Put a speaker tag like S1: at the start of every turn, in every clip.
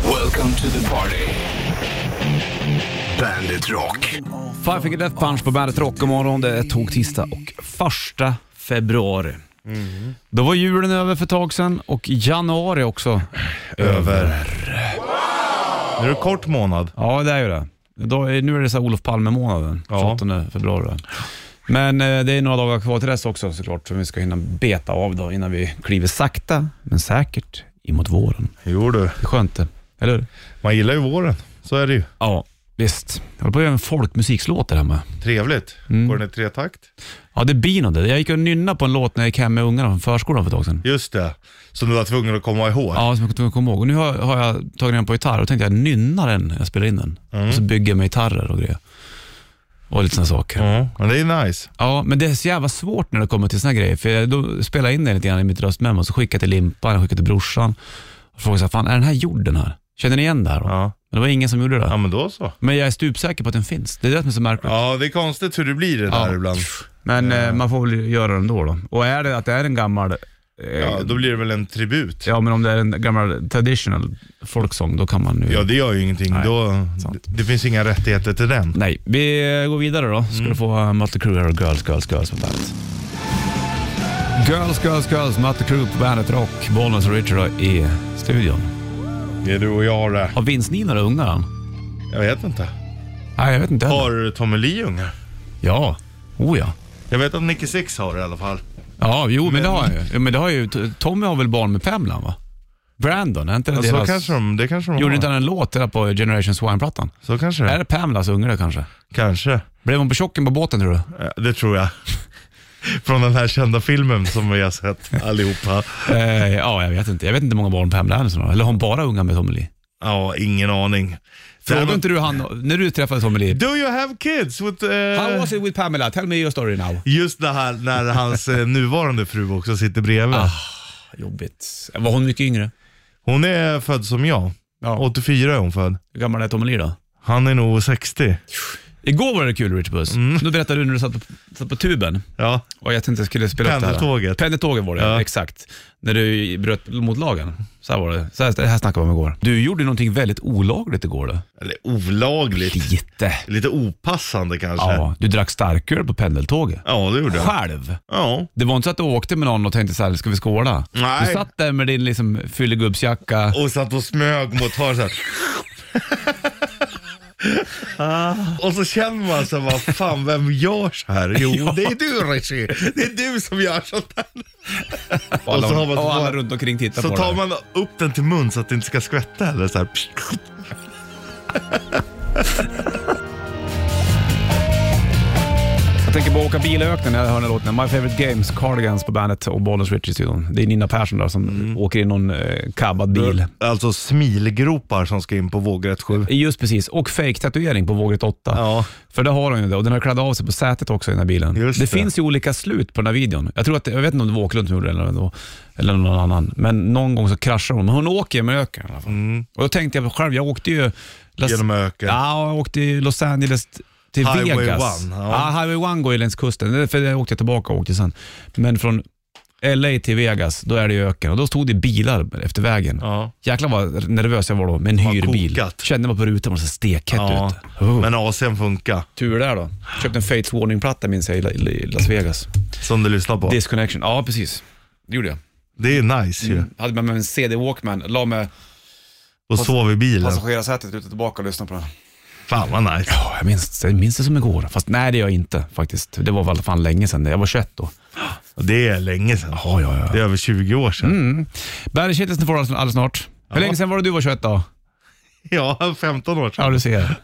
S1: Welcome to the party. Bandit Rock.
S2: Five Finger Death Punch på Bandet Rock imorgon. Det tog tisdag och första februari.
S3: Mm-hmm.
S2: Då var julen över för ett tag sedan och januari också.
S3: Över. Nu är det kort månad.
S2: Ja, det är ju det. Då, är- nu är det så här Olof Palme-månaden,
S3: Ja.
S2: 28 februari. då. Men eh, det är några dagar kvar till dess också såklart, som vi ska hinna beta av då innan vi kliver sakta men säkert emot våren.
S3: Jo du.
S2: Det är skönt det, eller hur?
S3: Man gillar ju våren. Så är det ju.
S2: Ja, visst. Jag håller på att göra en folkmusikslåt där hemma.
S3: Trevligt. Går den i tretakt?
S2: Ja, det blir nog det. Jag gick och nynnade på en låt när jag gick hem med ungarna från förskolan för ett tag sedan.
S3: Just det. Som du var tvungen att komma ihåg.
S2: Ja, som jag kommer kom ihåg. Och nu har, har jag tagit den på gitarr och tänkte jag nynnar den när jag spelar in den.
S3: Mm.
S2: Och så bygger jag med gitarrer och grejer. Och lite sådana saker.
S3: Ja, Men det är nice.
S2: Ja, men det är så jävla svårt när det kommer till såna grejer. För jag, då spelar jag in den lite grann i mitt röstmemo och så skickar jag till Limpan, jag skickar till brorsan. Och frågar så här, fan är den här gjord den här? Känner ni igen det här då?
S3: Ja.
S2: Men det var ingen som gjorde det.
S3: ja, men då så.
S2: Men jag är stupsäker på att den finns. Det är det som är så märkligt.
S3: Ja, det är konstigt hur det blir det där
S2: Ja.
S3: ibland.
S2: Men eh, man får väl göra det ändå då. Och är det att det är en gammal eh,
S3: Ja, då blir det väl en tribut.
S2: Ja, men om det är en gammal traditional folksång, då kan man ju...
S3: Ja, det gör ju ingenting.
S2: Nej,
S3: Då,
S2: sant.
S3: det finns inga rättigheter till den.
S2: Nej, vi eh, går vidare då. Ska du få eh, Mötley Crüe här och Girls, Girls, Girls på bandet. Girls, Girls, Girls, Mötley Crüe på bandet Rock. Bollnäs och Richard då i studion.
S3: Det är du och jag det.
S2: Har Vince Neil några ungar han?
S3: Jag vet inte.
S2: Nej, jag vet inte heller.
S3: Har Tommy Lee ungar?
S2: Ja. Oh ja.
S3: Jag vet att Nicky Six har i alla fall.
S2: Ja, jo men, det har jag ju. Jo, Men det har jag ju. T- Tommy har väl barn med Pamela va? Brandon, är inte det
S3: Ja, så
S2: deras...
S3: kanske de, det kanske de
S2: Gjorde
S3: har.
S2: inte han en låt där på Generation Swine-plattan?
S3: Så kanske det
S2: Är det Pamelas unge det kanske?
S3: Kanske.
S2: Blev hon på chocken på båten tror du?
S3: Eh, Det tror jag. Från den här kända filmen som vi har sett allihopa.
S2: eh, ja, jag vet inte. Jag vet inte hur många barn Pamela Anderson har. Eller har hon bara unga med Tommy Lee?
S3: Ja, ingen aning.
S2: Frågade
S3: Däremot-
S2: inte du han, när du träffade Tommy Lee?
S3: Do you have kids? With, eh,
S2: How was it with Pamela? Tell me your story now.
S3: Just det här när hans eh, nuvarande fru också sitter bredvid.
S2: Ah. Jobbigt. Var hon mycket yngre?
S3: Hon är född som jag.
S2: Ja.
S3: 84 är hon född.
S2: Hur gammal är Tommy Lee då?
S3: Han är nog 60.
S2: Igår var det kul Rich Puss.
S3: Mm.
S2: Då berättade du när du satt på, satt på tuben
S3: Ja,
S2: och jag tänkte jag skulle spela upp det här.
S3: Pendeltåget.
S2: Pendeltåget var det,
S3: Ja.
S2: exakt. När du bröt mot lagen. Så här var det. Så här, det här snackade vi om igår. Du gjorde någonting väldigt olagligt igår då.
S3: eller olagligt.
S2: Lite.
S3: Lite opassande kanske. Ja,
S2: Ja, du drack starköl på pendeltåget.
S3: det gjorde jag.
S2: Själv.
S3: Ja.
S2: Det var inte så att du åkte med någon och tänkte så här, ska vi skåla?
S3: Nej.
S2: Du satt där med din liksom fyllegubbsjacka.
S3: Och satt och smög mot hörnet såhär.
S2: Ah.
S3: Och så känner man så här, vad fan, vem gör så här? Jo,
S2: Ja.
S3: det är du Rishi. Det är du som gör sånt här. Och, så, har man,
S2: och alla
S3: så,
S2: runt omkring tittar
S3: så
S2: på
S3: tar
S2: det.
S3: man upp den till mun så att det inte ska skvätta eller så här.
S2: Jag tänker på åka bil i öknen när jag hör den här låten. My favorite games, Cardigans på bandet och Bollnäs Rich i studion. Det är Nina Persson där som
S3: Mm.
S2: åker i någon eh, kabbad bil.
S3: Alltså smilgropar som ska in på vågrätt 7.
S2: Just precis, och fake tatuering på vågrätt 8.
S3: Ja.
S2: För det har hon ju det och den har kladdat av sig på sätet också i den här bilen.
S3: Just
S2: det,
S3: det.
S2: finns ju olika slut på den här videon. Jag tror att, jag vet inte om det var Åkerlund som gjorde det eller, då, eller någon annan, men någon gång så kraschar hon. Men hon åker ju med öken i alla fall. Och då tänkte jag själv, jag åkte ju... Las-
S3: Mm. Genom öken.
S2: Ja, jag åkte i Los Angeles t- till
S3: Highway
S2: Vegas.
S3: one,
S2: ja.
S3: ja.
S2: Highway 1 går ju längs kusten, Det är för det åkte jag tillbaka och åkte sen. Men från LA till Vegas, då är det ju öken och då stod det bilar efter vägen.
S3: Ja.
S2: Jäklar vad nervös jag var då med en
S3: Man
S2: hyrbil.
S3: kokat.
S2: Kände man på rutan, man var så stekhett
S3: Ja.
S2: ute. Oh.
S3: Men AC'n funkar,
S2: Tur där då. Köpte en Fates Warning-platta minns jag i La- i Las Vegas.
S3: som du lyssnar på. Det,
S2: Disconnection, ja precis. Det gjorde jag.
S3: är nice ju.
S2: Hade med mig en CD Walkman, la mig
S3: Och sov i bilen.
S2: passagerarsätet ute tillbaka och lyssnade på den.
S3: Fan vad nice.
S2: Ja, jag minns, jag minns det som igår. Fast nej det gör jag inte faktiskt. Det var väl fan länge sedan. Jag var 21 då.
S3: Det är länge sedan.
S2: Ja, ja, ja.
S3: Det är över 20 år sedan.
S2: Bandit Shitlisten får du alldeles alldeles snart. Hur länge sedan var det du var 21 då?
S3: Ja, 15 år sedan.
S2: Ja, du ser.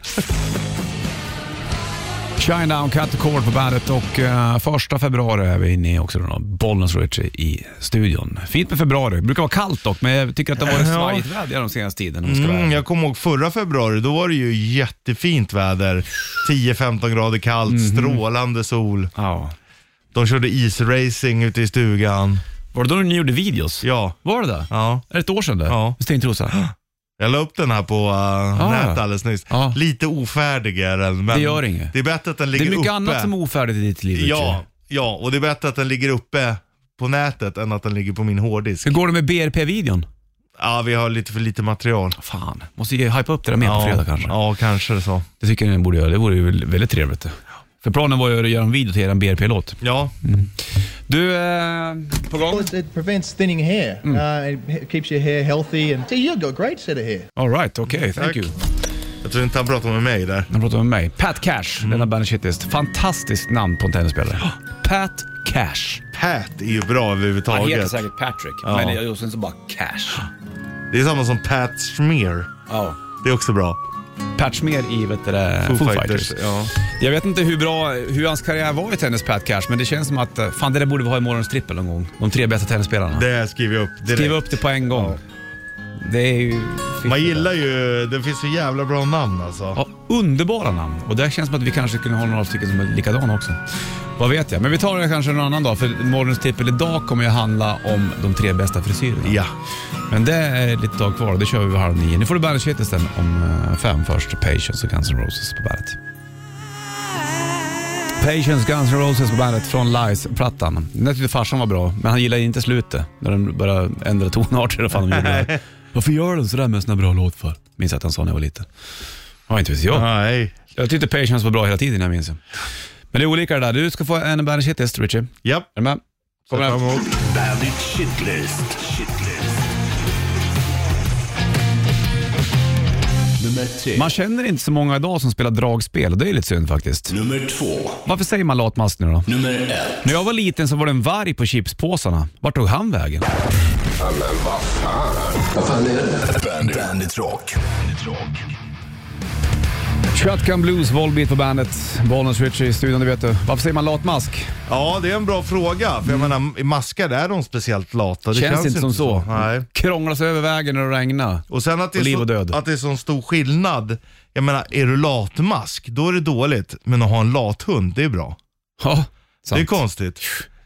S2: Shine Down, Cut the Cord på bandet och eh, första februari är vi inne i också då. Bollnäs Richie i studion. Fint med februari. Det brukar vara kallt dock, men jag tycker att det har varit
S3: Ja.
S2: svajigt väder de senaste tiden. Om jag ska vara
S3: Mm,
S2: ärlig.
S3: jag kommer ihåg förra februari, då var det ju jättefint väder. 10-15 grader kallt, strålande sol.
S2: ja.
S3: De körde isracing ute i stugan.
S2: Var det då ni gjorde videos?
S3: Ja,
S2: Var det det?
S3: ja.
S2: Är det ett år sedan det?
S3: Ja.
S2: Med Stentrosa?
S3: Jag la upp den här på uh, nätet alldeles nyss.
S2: Ja.
S3: Lite ofärdig är den. Men
S2: Det gör inget.
S3: Ah. Det är bättre att den
S2: Det
S3: ligger
S2: är
S3: uppe.
S2: mycket annat som är ofärdigt i ditt liv, Richie.
S3: Ja, ja, och det är bättre att den ligger uppe på nätet än att den ligger på min hårddisk.
S2: Hur går det med BRP-videon?
S3: Ja, vi har lite för lite material.
S2: Fan, måste ju hypa upp det där mer på fredag kanske.
S3: Ja, kanske det så.
S2: Det tycker jag ni borde göra. Det vore ju väl- väldigt trevligt. För planen var ju att göra en video till er BRP-låt.
S3: Ja,
S2: Du, eh, på gång?
S1: Well, it, it prevents thinning hair. Uh, it keeps your hair healthy. And see, you've got a great set of hair.
S2: All right, okej, thank
S3: Tack.
S2: you.
S3: jag tror inte han pratar med mig där.
S2: Han pratar med mig. Pat Cash,
S3: Mm.
S2: denna bandit shitlist. Fantastiskt namn på en tennisspelare. Pat Cash.
S3: Pat är ju bra
S2: Han heter
S3: överhuvudtaget.
S2: säkert Patrick,
S3: Ja.
S2: men och sen så bara Cash.
S3: Det är samma som Pat Smear.
S2: Ja.
S3: Det är också bra.
S2: Pat Smear i vet du, det, Foo, Fighters.
S3: Ja.
S2: Jag vet inte hur bra, hur hans karriär var i tennis, Pat Cash, men det känns som att eh, fan det där borde vi ha i morgons trippel någon gång. De tre bästa tennisspelarna.
S3: Det skriver jag upp direkt.
S2: Skriv upp det på en gång. Det är ju...
S3: Man gillar ju, det finns så jävla bra namn alltså.
S2: Ja, underbara namn. Och det känns som att vi kanske kunde ha några stycken som är likadana också. Vad vet jag? Men vi tar det kanske någon annan dag, för morgons trippel idag kommer ju handla om de tre bästa frisyrerna.
S3: Ja.
S2: Men det är lite dag kvar och det kör vi vid halv nio. Nu får du Bandet Shitlist sen om eh, fem först. Patience och Guns N' Roses på bandet. Patience, Guns N' Roses på bandet från Lies-plattan. Den tyckte farsan var bra, men han gillade inte slutet. När de började ändra tonarter och fan de gjorde det. Varför gör de sådär med en sån här bra låt för? Minns att han sa när jag var liten. Ja, inte vet jag.
S3: Nej.
S2: Jag tyckte Patience var bra hela tiden, jag minns det. Men det är olika det där. Du ska få en Bandet Shitlist, Richie. Är
S3: Japp.
S2: du med? Kommer
S3: Sätt
S2: här.
S3: fram emot.
S4: Bandit Shitlist. Shitlist. Nummer tre.
S2: Man känner inte så många idag som spelar dragspel och det är lite synd faktiskt.
S4: Nummer två.
S2: Varför säger man latmask nu då?
S4: Nummer ett.
S2: När jag var liten så var det en varg på chipspåsarna. Vart tog han vägen?
S4: Bandit, Bandit Rock. Bandit Rock.
S2: Shotgun Blues, Volbeat på bandet. Bollnäs Richie i studion, det vet du. Varför säger man latmask?
S3: Ja, det är en bra fråga. För jag menar, maskar är de speciellt lata? Det
S2: Mm. känns, inte som så.
S3: Nej.
S2: Krånglar sig över vägen när det regnar.
S3: Och sen att det,
S2: Och liv och
S3: är
S2: död.
S3: så, att det är sån stor skillnad. Jag menar, är du latmask, då är det dåligt. Men att ha en lathund, det är bra.
S2: Ja, sant.
S3: Det är konstigt.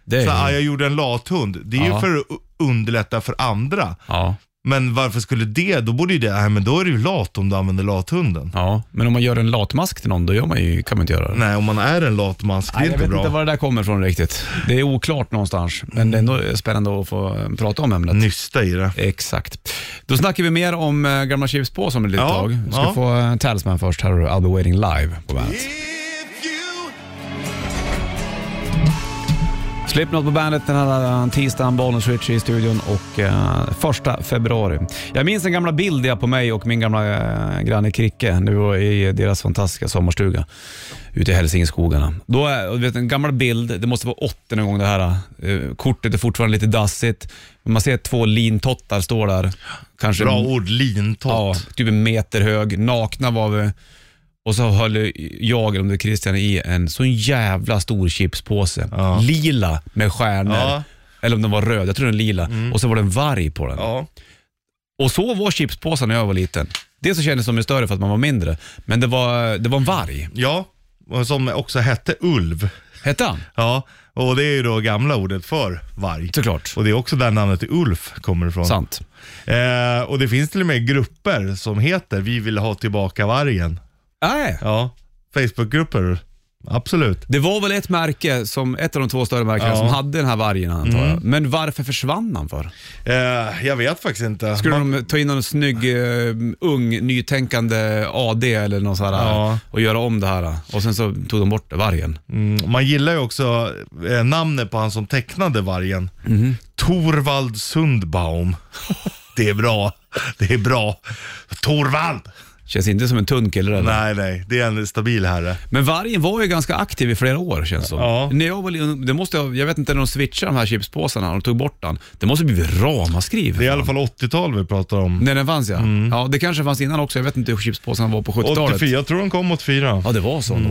S2: Det är-
S3: Så, ah, jag gjorde en lathund. Det är
S2: Ja.
S3: ju för att u- underlätta för andra.
S2: ja,
S3: Men varför skulle det? Då borde ju det, nej men då är du ju lat om du använder lathunden.
S2: ja, men om man gör en latmask till någon, då gör man ju, kan man inte göra det.
S3: Nej, om man är en latmask, det är
S2: Nej, jag
S3: inte
S2: vet
S3: bra.
S2: inte var det där kommer ifrån riktigt. Det är oklart någonstans, men det är ändå spännande att få eh, prata om ämnet.
S3: Nysta i det.
S2: Exakt. Då snackar vi mer om eh, gamla chips på som ett litet
S3: Ja,
S2: tag. Vi ska
S3: ja.
S2: få en Talisman först. Här har du I'll be waiting live på bandet. Slipknot på bandet den här eh, tisdagen, Bonus Switch i studion och eh, första februari. Jag minns en gamla bild jag på mig och min gamla eh, granne Kricke när vi var i deras fantastiska sommarstuga ute i Hälsingeskogarna. Då, är- och du vet, en gammal bild, det måste vara 80 någon gång det här. eh, kortet är fortfarande lite dassigt. Man ser två lintottar står där. Kanske
S3: Bra ord, lintott.
S2: Ja, typ en meter hög. Nakna var vi. Och så höll jag, eller om det var Christian, i en sån jävla stor chipspåse.
S3: Ja.
S2: Lila med stjärnor.
S3: Ja. Mm.
S2: Eller om den var röd, jag tror den lila. Och så var det en varg på den.
S3: Ja.
S2: Och så var chipspåsen när jag var liten. Det så kändes som en större för att man var mindre. Men det var, det var en varg.
S3: ja. Och Som också hette ulv.
S2: Hette han?
S3: Ja, och det är ju då gamla ordet för varg.
S2: Såklart.
S3: Och det är också där namnet Ulf kommer ifrån.
S2: Sant.
S3: Eh, och det finns till och med grupper som heter Vi vill ha tillbaka vargen.
S2: Nej.
S3: Ja, Facebookgrupper. Absolut.
S2: Det var väl ett märke, som, ett av de två större märkena,
S3: Ja. Mm.
S2: som hade den här vargen antar jag. Men varför försvann han för?
S3: Eh, jag vet faktiskt inte.
S2: Skulle
S3: Man-
S2: de ta in någon snygg, eh, ung, nytänkande AD eller något sådär
S3: Ja.
S2: och göra om det här? Och sen så tog de bort vargen.
S3: Mm, Man gillar ju också eh, namnet på han som tecknade vargen. Torvald Sundbaum. Det är bra. Det är bra. Torvald!
S2: Känns inte som en tunn kille det där.
S3: Nej, nej. Det är en stabil herre.
S2: Men vargen var ju ganska aktiv i flera år känns det som.
S3: Ja.
S2: När jag var li- det måste jag, jag vet inte när de switchade de här chipspåsarna, de tog bort den. Det måste blivit ramaskriv.
S3: Det är i alla fall 80-tal vi pratar om.
S2: När den fanns ja.
S3: Mm.
S2: Ja, det kanske fanns innan också. Jag vet inte hur chipspåsarna var på 70-talet.
S3: 84, jag tror de kom 84.
S2: Ja, det var så då.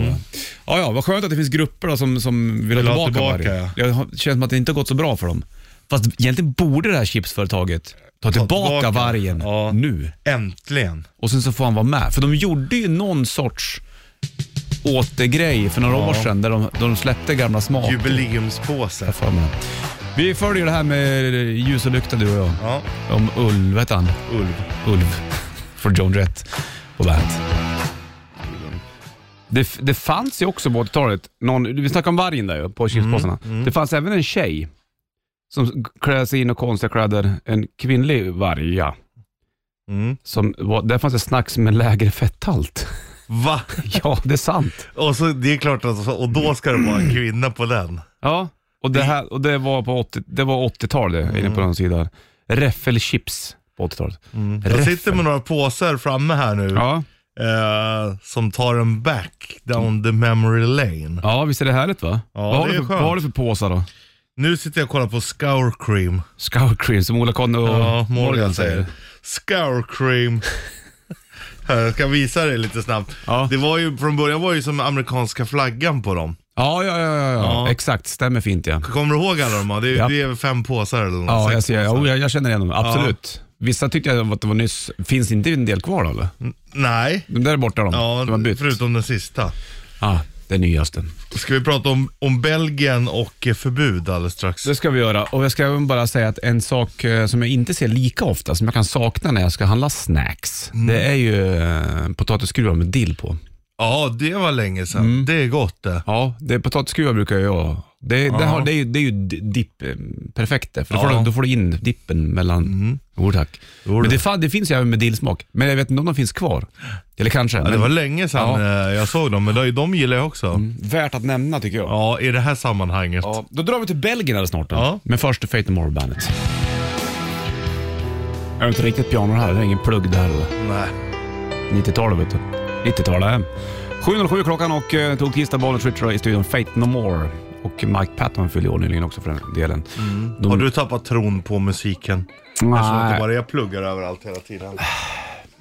S2: Ja, ja, vad skönt att det finns grupper då som, som vill ha
S3: Mm. Vill ha
S2: tillbaka,
S3: tillbaka,
S2: vargen. Det har- känns som att det inte har gått så bra för dem. Fast egentligen borde det här chipsföretaget ta tillbaka,
S3: tillbaka.
S2: vargen
S3: Ja.
S2: nu
S3: Äntligen.
S2: och sen så får han vara med. För de gjorde ju någon sorts återgrej för några år sedan där de, då de släppte gamla smak.
S3: Jubileumspåse.
S2: För mig. Vi följer det här med ljus och lykta du och jag.
S3: Ja,
S2: Om Ulv, vet han?
S3: Ulv.
S2: Ulv från John Jett på bandet. Det, det fanns ju också på 80-talet, någon- vi snackade om vargen där ju,
S3: Mm,
S2: på chipspåsarna. Det fanns även en tjej som klädde sig in i konstiga kläder, en kvinnlig varg ja.
S3: Mm.
S2: Som, var- där fanns det snacks med lägre fetthalt.
S3: Va?
S2: ja, det är sant.
S3: Och så, det är klart att, och då ska det vara en kvinna på den.
S2: Ja, och det, här, och det var på 80, det var 80-tal det, inne på
S3: Mm.
S2: någon sida. Räffelchips på 80-talet.
S3: Jag sitter med några påsar framme här nu.
S2: Ja.
S3: Eh, som tar en back down the memory lane.
S2: ja, visst är det härligt va?
S3: Ja,
S2: vad, har
S3: det
S2: du
S3: är
S2: för, vad
S3: skönt.
S2: har du för påsar då?
S3: Nu sitter jag och kollar på Scour Cream.
S2: Scour cream som Ola Conny och
S3: Ja, Morgan, säger. Scour Cream. Här, jag ska visa dig lite snabbt.
S2: Ja.
S3: Det var ju från början var ju som amerikanska flaggan på dem.
S2: Ja, ja, ja, ja, ja.
S3: Ja.
S2: exakt. Stämmer fint ja.
S3: Kommer du ihåg alla de här? Det, är-
S2: Ja.
S3: det är fem påsar eller något.
S2: Ja,
S3: sex
S2: jag, ser,
S3: påsar.
S2: jo, jag, jag känner igen dem. Absolut. Vissa tyckte jag att det var nyss. Finns inte en del kvar då eller?
S3: Nej.
S2: De där är borta de.
S3: Ja,
S2: de har bytt.
S3: förutom den sista.
S2: Ja, det är nyaste.
S3: Ska vi prata om, om Belgien och eh, förbud alldeles strax?
S2: Det ska vi göra och jag ska även bara säga att en sak eh, som jag inte ser lika ofta, som jag kan sakna när jag ska handla snacks,
S3: Mm.
S2: det är ju eh, potatisskruvar med dill på.
S3: Ja, det var länge sedan.
S2: Mm.
S3: Det är gott det.
S2: Ja, det är potatisskruvar brukar jag ha. Det, det, har, det, är, ju- det är ju di- dipp, eh, perfekt det, för då, får
S3: Ja. Mhm.
S2: du, då får du in dippen mellan... Jo tack.
S3: Jo,
S2: Men
S3: det.
S2: det, fan- det finns ju även med dillsmak, men jag vet inte om de finns kvar. Eller kanske.
S3: Ja, det
S2: men Mm.
S3: var länge sedan eh, jag såg dem, men de, de gillar jag också.
S2: Värt att nämna tycker jag.
S3: Ja, i det här sammanhanget.
S2: Ja, då drar vi till Belgien alldeles snart. då.
S3: Ja.
S2: Men först Fate No More Bandet. Är det inte riktigt piano här? Det är ingen plugg där eller?
S3: Nej.
S2: 90-talet vet du. 90-talet. 7.07 klockan och eh, tog tisdag bollen Twitter i studion Fate No More. Och Mike Patton fyllde år nyligen också för den delen.
S3: Mm.
S2: De-
S3: Har du tappat tron på musiken? Jag tror inte
S2: Nej.
S3: bara jag pluggar överallt hela tiden.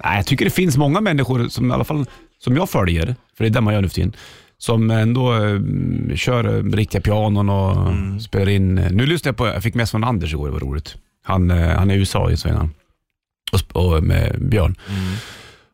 S2: Nej, jag tycker det finns många människor som i alla fall som jag följer, för det är det man gör nu för tiden, som ändå eh, kör eh, riktiga pianon och
S3: Mm.
S2: spelar in. Nu lyssnade jag på, jag fick med från Anders igår, det var roligt. Han, eh, han är i USA ju, så är han. Och, sp- och med Björn.
S3: Mm.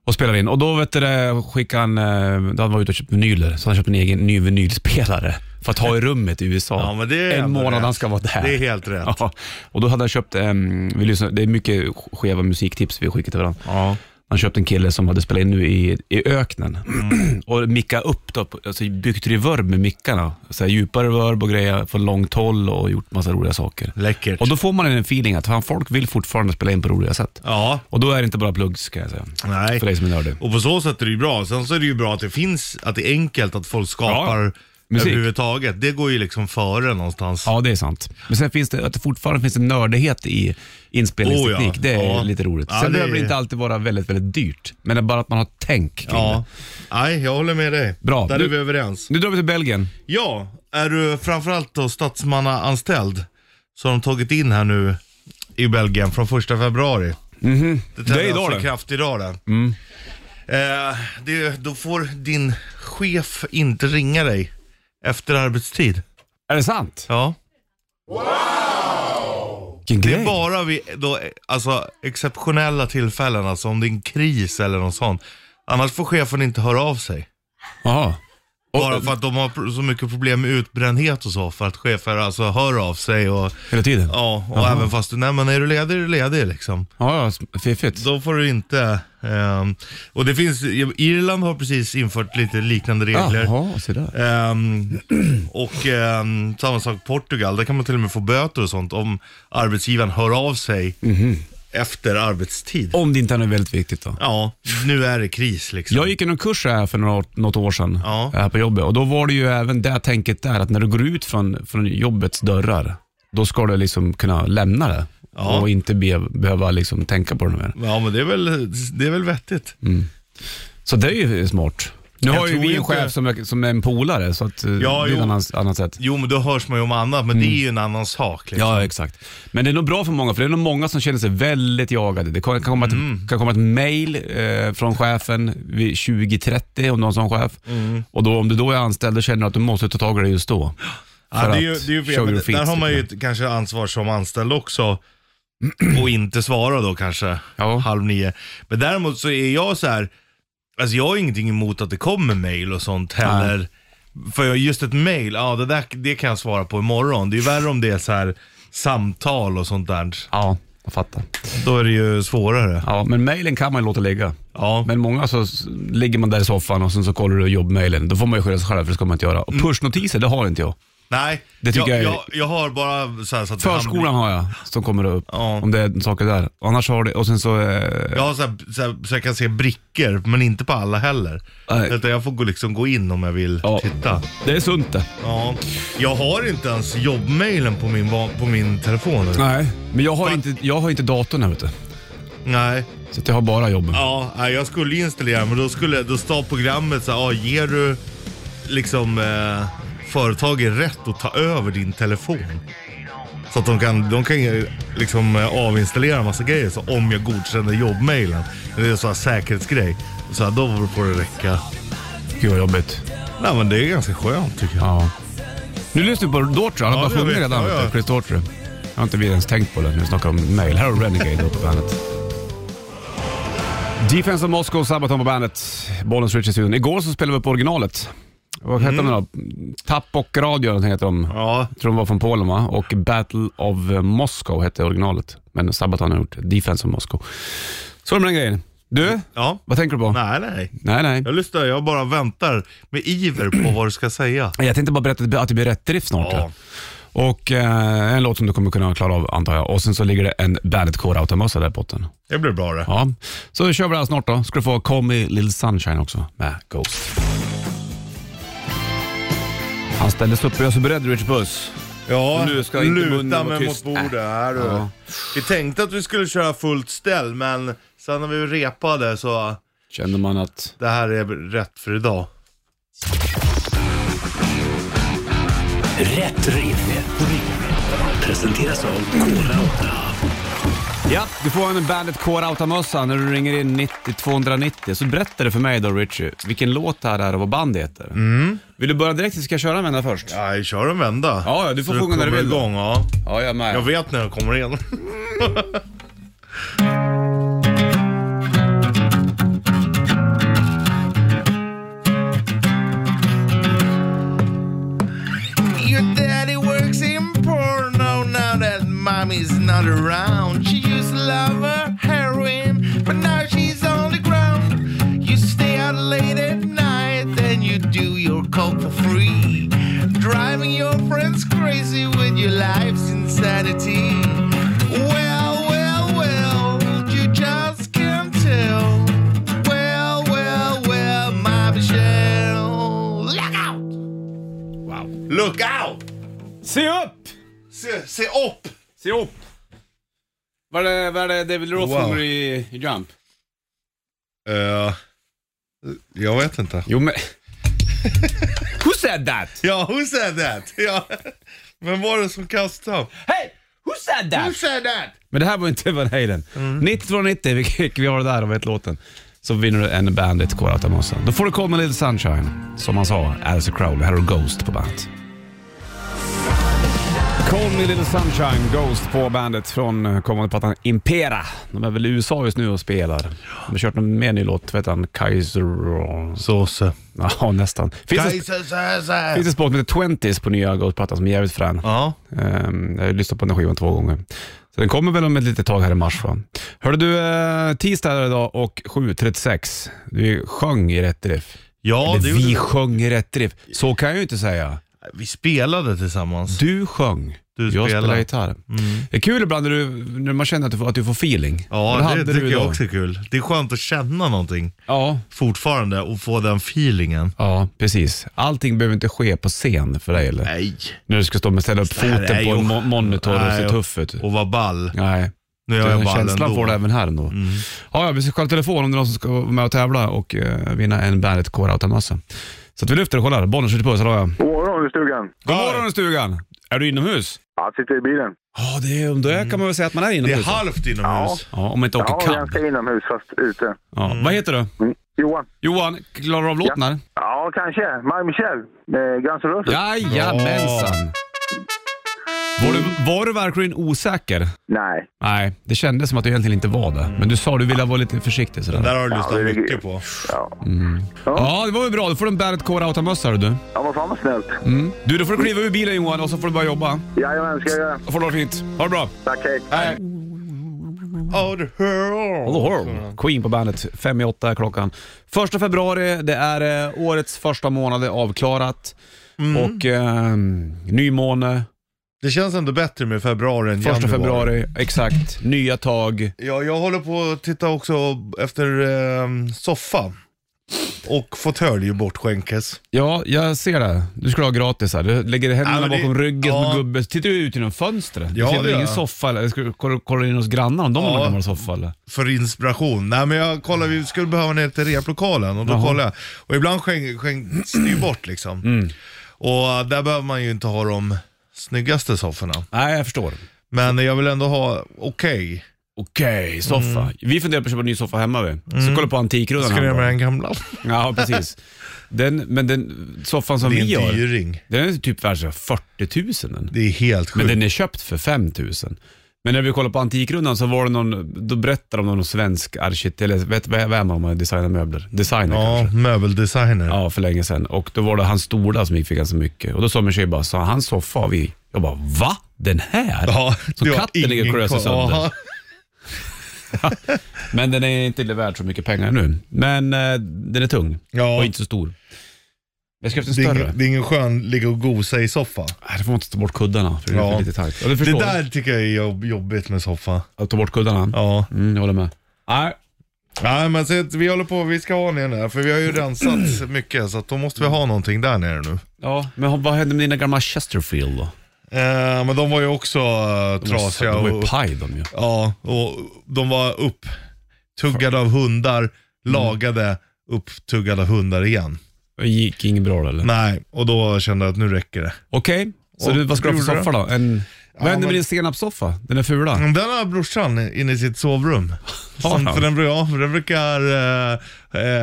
S2: Och spelar in. Och då vet du, det, skickade han, eh, då han var ute och köpte vinyler, så han köpte en egen ny vinylspelare för att ha i rummet i USA.
S3: Ja, men det är
S2: en
S3: ändå
S2: månad
S3: rätt.
S2: han ska vara där.
S3: Det är helt rätt.
S2: Ja, och då hade han köpt, ehm, vi lyssnar, det är mycket skeva musiktips vi har skickat till varandra.
S3: Ja.
S2: Han köpte en kille som hade spelat in nu i, i öknen
S3: Mm.
S2: och mickat upp, då, på- alltså byggt reverb med mickarna. Så här, djupare reverb och grejer från långt håll och gjort massa roliga saker.
S3: Läckert.
S2: Och då får man en feeling att fan, folk vill fortfarande spela in på roliga sätt.
S3: Ja,
S2: Och då är det inte bara pluggs kan jag säga.
S3: nej.
S2: För dig som är nördig.
S3: Och på så sätt är det ju bra. Sen så är det ju bra att det finns, att det är enkelt att folk skapar
S2: Ja, musik.
S3: överhuvudtaget. Det går ju liksom före någonstans.
S2: Ja, det är sant. Men sen finns det att det fortfarande finns en nördighet i inspelningsteknik.
S3: Oh ja,
S2: Det är
S3: ja.
S2: lite roligt. Sen
S3: Ja, det
S2: behöver det
S3: är-
S2: inte alltid vara väldigt, väldigt dyrt. Men det är bara att man har tänk kring det.
S3: Ja. Nej, jag håller med dig.
S2: Bra.
S3: Där
S2: Du-
S3: är vi överens.
S2: Nu drar vi till Belgien.
S3: Ja, är du framförallt då statsmannaanställd så har de tagit in här nu i Belgien från 1 februari. Det
S2: Mhm. Det
S3: träder
S2: är idag
S3: alltså
S2: det. Mm.
S3: i kraft idag det. Eh, det. Då får din chef inte ringa dig efter arbetstid.
S2: Är det sant?
S3: Ja.
S2: Vilken
S3: Det
S2: grej.
S3: är bara vid då, alltså, exceptionella tillfällen, alltså om det är en kris eller något sånt. Annars får chefen inte höra av sig.
S2: Jaha.
S3: Bara för att de har pro- så mycket problem med utbrändhet och så, för att chefer alltså hör av sig och
S2: Hela tiden?
S3: Ja, och
S2: Jaha.
S3: även fast du, nej men är du ledig är du ledig liksom.
S2: Ja, ja s- fiffigt.
S3: Då får du inte, ehm, och det finns, Irland har precis infört lite liknande regler.
S2: Jaha, se där.
S3: Ehm, och ehm, samma sak Portugal, där kan man till och med få böter och sånt om arbetsgivaren hör av sig
S2: Mhm.
S3: efter arbetstid.
S2: Om det inte är något väldigt viktigt då.
S3: Ja, nu är det kris liksom.
S2: Jag gick ju någon kurs här för några år, något år sedan
S3: Ja.
S2: här på jobbet och då var det ju även det tänket där att när du går ut från, från jobbets dörrar, då ska du liksom kunna lämna det
S3: Ja.
S2: och inte be, behöva liksom tänka på det mer.
S3: Ja men det är väl, det är väl vettigt.
S2: Mm. Så det är ju smart. Nu
S3: Jag
S2: har ju
S3: tror
S2: vi en
S3: inte-
S2: chef som är, som är en polare, så att, eh,
S3: Ja,
S2: det är
S3: jo.
S2: ett annat, annat sätt.
S3: Jo men då hörs man ju om annat, men det är
S2: Mm.
S3: ju en annan sak. Liksom.
S2: Ja, exakt. Men det är nog bra för många, för det är nog många som känner sig väldigt jagade. Det kan kan komma ett, kan komma ett mail eh, från chefen vid 20.30 om någon som chef. Och då, om du då är anställd, då känner du att du måste ta tag i det just då.
S3: Ja,
S2: För
S3: det är ju,
S2: att
S3: det är
S2: show
S3: ju fel,
S2: your
S3: men där
S2: feet,
S3: har man ju
S2: liksom.
S3: ett, kanske ansvar som anställd också. Och inte svara då kanske
S2: Ja.
S3: halv nio. Men däremot så är jag så här, alltså jag har ingenting emot att det kommer mail och sånt heller. För jag- just ett mail, ja det där det kan jag svara på imorgon. Det är ju värre om det är så här samtal och sånt där.
S2: Ja, jag fattar.
S3: Då är det ju svårare.
S2: Ja, men mailen kan man ju låta ligga.
S3: Ja,
S2: Men många så s- Mm. ligger man där i soffan och sen så kollar du jobbmailen. Då får man ju skylla sig själv, för det ska man inte göra. Och pushnotiser, det har inte jag.
S3: Nej,
S2: Det tycker jag
S3: jag,
S2: är-
S3: jag, jag har bara så här så att
S2: Förskolan har jag som kommer upp,
S3: Ja.
S2: om det är saker där. Annars har det, och sen så... Eh,
S3: Jag har så, här, så, här, så jag kan se brickor, men inte på alla heller.
S2: Nej.
S3: Utan jag får gå, liksom gå in om jag vill
S2: Ja.
S3: titta.
S2: det är sunt det.
S3: Ja. Jag har inte ens jobbmailen på min, va- på min telefon. nu.
S2: Nej, men jag har, inte, jag har inte datorn här ute.
S3: Nej.
S2: Så att jag har bara jobben.
S3: Ja, nej, jag skulle ju installera men då skulle då stod programmet så här, ja, ger du liksom eh, företaget rätt att ta över din telefon? Så att de kan, de kan ju liksom eh, avinstallera en massa grejer. Så om jag godkänner jobbmailen, det är så här säkerhetsgrej. Så här, då får det räcka.
S2: Gud vad jobbigt.
S3: Nej men det är ganska skönt tycker jag.
S2: Ja. Nu lyssnar vi på Daughtry, han har
S3: Ja,
S2: bara
S3: det
S2: sjungit
S3: vet
S2: redan.
S3: jag,
S2: vet du.
S3: ja.
S2: Chris Daughtry. Jag har inte vi ens tänkt på det nu, vi snackar om mail. Här har du Renegade då på bandet. Defense of Moscow, Sabaton på bandet. Bollens Richard studion. Igår så spelade vi upp originalet. Vad
S3: Mm.
S2: hette de då? Tapok Radio någonting heter de.
S3: Ja,
S2: Jag tror de var från Polen va? Och Battle of Moscow hette originalet. Men Sabaton har gjort Defense of Moscow. Så är det med den grejen. Du,
S3: ja.
S2: vad tänker du på?
S3: Mm. Nej, nej.
S2: Nej, nej.
S3: Jag lyssnar, jag bara väntar med iver på vad du ska säga.
S2: Jag tänkte bara berätta att det blir rätt drift snart.
S3: Ja.
S2: ja. Och eh, en låt som du kommer kunna klara av antar jag. Och sen så ligger det en Bandet Core-automössa där i botten.
S3: Det blir bra det.
S2: Ja, så kör vi det här snart då. Ska du få Call Me Little Sunshine också med Ghost. Han ställdes upp och jag är så beredd Rich Buss.
S3: Ja,
S2: Nu ska inte munnen
S3: luta
S2: vara
S3: mig mot
S2: tyst.
S3: bordet. Här, du.
S2: Ja.
S3: Vi tänkte att vi skulle köra fullt ställ, men sen när vi repade så,
S2: Kände man att...
S3: det här är rätt för idag.
S4: Rätt riff. Presenteras av Kora 8.
S2: Ja, du får en Bandet Core-automössa när du ringer in 90 290. Så berätta det för mig då Richie, vilken låt det här är och vad bandet heter. Vill du börja direkt eller ska jag köra med den här först?
S3: Nej, kör en vända.
S2: Ja, ja, du får
S3: Så
S2: sjunga när du
S3: kommer
S2: vill då.
S3: Igång, ja.
S2: Ja, jag med.
S3: Jag vet när jag kommer in. Your daddy works in porno now that mommy's not around. She used to love her heroin, but now she's on the ground. You stay out late at night, then you do your coke for free. Driving your friends crazy with your life's insanity. Well, well, well, you just can't tell. Well, well, well, my Michelle. Look out!
S2: Wow.
S3: Look out!
S2: Se upp!
S3: Se, se upp!
S2: Se upp! Vad är det, vad är det David Roth
S3: Wow.
S2: sjunger i, i Jump?
S3: Eh, jag vet inte.
S2: Jo men... Who said that?
S3: Ja, who said that? Ja. Vem var det som kastade?
S2: Hey! Who said that?
S3: said that?
S2: Men det här var inte Van Halen. 9290, vilket vi har där och vet låten. Så vinner du en Bandit Core Automata. Då får du komma Little Sunshine. Som han sa, Alice Crowley. Här har du Ghost på bandet. Call Me Little Sunshine, Ghost på bandet från eh, kommande plattan Impera. De är väl i USA just nu och spelar. De har kört en mer ny låt, vad heter han? Kaiser...
S3: Såse.
S2: Ja, nästan. Finns det,
S3: Kajsa
S2: finns det spår som heter 20s på nya Ghost-plattan som är jävligt frän.
S3: Ja.
S2: Ehm, jag har lyssnat på den här skivan två gånger. Så den kommer väl om ett litet tag här i mars va? Hörde du, eh, tisdag är det idag och 7.36. Du sjöng i rätt riff.
S3: Ja,
S2: Eller
S3: det
S2: vi
S3: gjorde
S2: sjöng i rätt riff. Så kan jag ju inte säga.
S3: vi spelade tillsammans.
S2: Du sjöng.
S3: Du Mm.
S2: jag
S3: spelade.
S2: spelade gitarr. Det är kul ibland när, du, när man känner att du, får- att du får feeling. Och
S3: Ja,
S2: hade
S3: det,
S2: du
S3: tycker jag
S2: idag.
S3: också är kul. Det är skönt att känna någonting
S2: Ja,
S3: fortfarande och få den feelingen.
S2: ja, precis. Allting behöver inte ske på scen för dig eller?
S3: Nej.
S2: När du ska stå med ställa upp
S3: Det här
S2: foten
S3: är
S2: på
S3: ju-
S2: en mo- monitor och
S3: Nej,
S2: se tuff ut.
S3: Och vara ball.
S2: Nej.
S3: Nu är jag
S2: Den
S3: ball
S2: känslan
S3: ändå. Mm.
S2: får du även här ändå. Ja, ja, vi ska kolla telefon om det är någon som ska vara med och tävla och eh, vinna en Bandet Core Automössa. Så att vi lyfter och kollar. Bollen skjuter puss, hallå ja.
S5: God morgon i stugan.
S2: God morgon stugan! Är du inomhus?
S5: Ja, sitter i bilen.
S2: Ja, det är, då kan man väl säga att man är
S3: Mm. Det är
S2: inomhus. va?
S3: halvt inomhus.
S2: ja, om man inte åker
S5: Ja,
S2: kadd.
S5: ganska inomhus fast ute.
S2: Ja. Vad heter du?
S5: Mm. Johan?
S2: Johan, klarar du av låten här?
S5: Ja, kanske. My Michel. Eh, Guns N' Roses?
S2: Jajamensan! Var du, var du verkligen osäker?
S5: Nej.
S2: Nej, det kändes som att du egentligen inte var det. Men du sa du ville vara lite försiktig sådär.
S3: Där har du lyssnat
S5: Ja, det är-
S3: mycket på.
S5: Ja.
S2: Ja, det var väl bra. Då får du en Bandet Core Automössa du.
S5: ja, vad fan vad snällt.
S2: Du, då får du kliva ur bilen Johan och så får du börja jobba.
S5: Jajamän, ska jag göra.
S2: Då får du ha det fint. Ha det bra.
S5: Tack, hej.
S3: Ja, du hör.
S2: Queen på bandet. Fem i åtta är klockan. Första februari, det är eh, årets första månad är avklarat. och eh, nymåne,
S3: Det känns ändå bättre med februari än
S2: första
S3: januari.
S2: februari, exakt, nya tag.
S3: Ja, jag håller på att titta också efter eh, soffa. Och fåtölj bortskänkes.
S2: Ja, jag ser det. Du skulle ha gratis här. Du lägger händerna
S3: Ja, men det-
S2: bakom ryggen som
S3: ja.
S2: en gubbe. Tittar du ut genom fönstret?
S3: Ja,
S2: du ser
S3: det
S2: väl ingen
S3: gör jag.
S2: soffa eller? Ska du kolla- kolla in hos grannarna om de
S3: Ja.
S2: har någon gammal soffa eller?
S3: För inspiration. Nej men jag kollar, vi skulle behöva ner till replokalen och då
S2: Jaha.
S3: kollar jag. Och ibland skänks skänk, det ju bort liksom.
S2: Mm.
S3: Och där behöver man ju inte ha de snyggaste sofforna.
S2: Nej, jag förstår.
S3: Men jag vill ändå ha okej.
S2: Okej, soffa. Mm. Vi funderar på att köpa en ny soffa hemma vi. Så kolla på Antikrundan.
S3: Ska
S2: här
S3: ni göra
S2: bara.
S3: med den gamla?
S2: Ja, precis. Den, men den soffan som
S3: Det
S2: vi
S3: är en
S2: har,
S3: dyring.
S2: den är typ värd så här 40 000. Den.
S3: Det är helt
S2: Men
S3: sjukt.
S2: den är köpt för 5 000. Men när vi kollade på Antikrundan så var det någon, då berättade de om någon svensk arkitekt, eller vet, vem är man om designar möbler? Designer kanske.
S3: Ja, möbeldesigner.
S2: Ja, för länge sedan. Och då var det hans stolar som gick för ganska mycket. Och då sa min tjej bara, sa hans soffa har vi. Jag bara, va? Den här?
S3: Ja,
S2: så
S3: du har
S2: katten ligger och
S3: ingen
S2: klöser
S3: koll.
S2: sönder.
S3: Ja.
S2: Men den är inte värd så mycket pengar nu. Men eh, den är tung
S3: Ja.
S2: och inte så stor. Jag ska efter en
S3: Det är,
S2: större.
S3: ingen, det är ingen skön ligga och gosa i soffa.
S2: Nej, då får man inte ta bort kuddarna för det
S3: Ja.
S2: är lite tajt. Ja, du
S3: Det
S2: förstår.
S3: där tycker jag är jobb, jobbigt med soffa.
S2: Att ta bort kuddarna?
S3: Ja.
S2: Mm, jag håller med. Nej,
S3: Nej men så att vi håller på, vi ska ha ner den där. För vi har ju rensat mycket så att då måste vi ha någonting där nere nu.
S2: ja, men vad hände med dina gamla Chesterfield då?
S3: Eh, men de var ju också eh, trasiga.
S2: De var ju
S3: Och,
S2: paj de ju.
S3: ja, och de var upptuggade av hundar, lagade, upptuggade av hundar igen.
S2: Det gick inget bra eller?
S3: Nej, och då kände jag att nu räcker det.
S2: Okej, så
S3: Och
S2: du, vad ska du ha för
S3: gjorde
S2: soffa då? En, vad hände
S3: men-
S2: med din senapssoffa? Den är fula.
S3: Mm, Den har brorsan inne i sitt sovrum.
S2: Har
S3: Som,
S2: han?
S3: för den, bru- ja, för den brukar eh,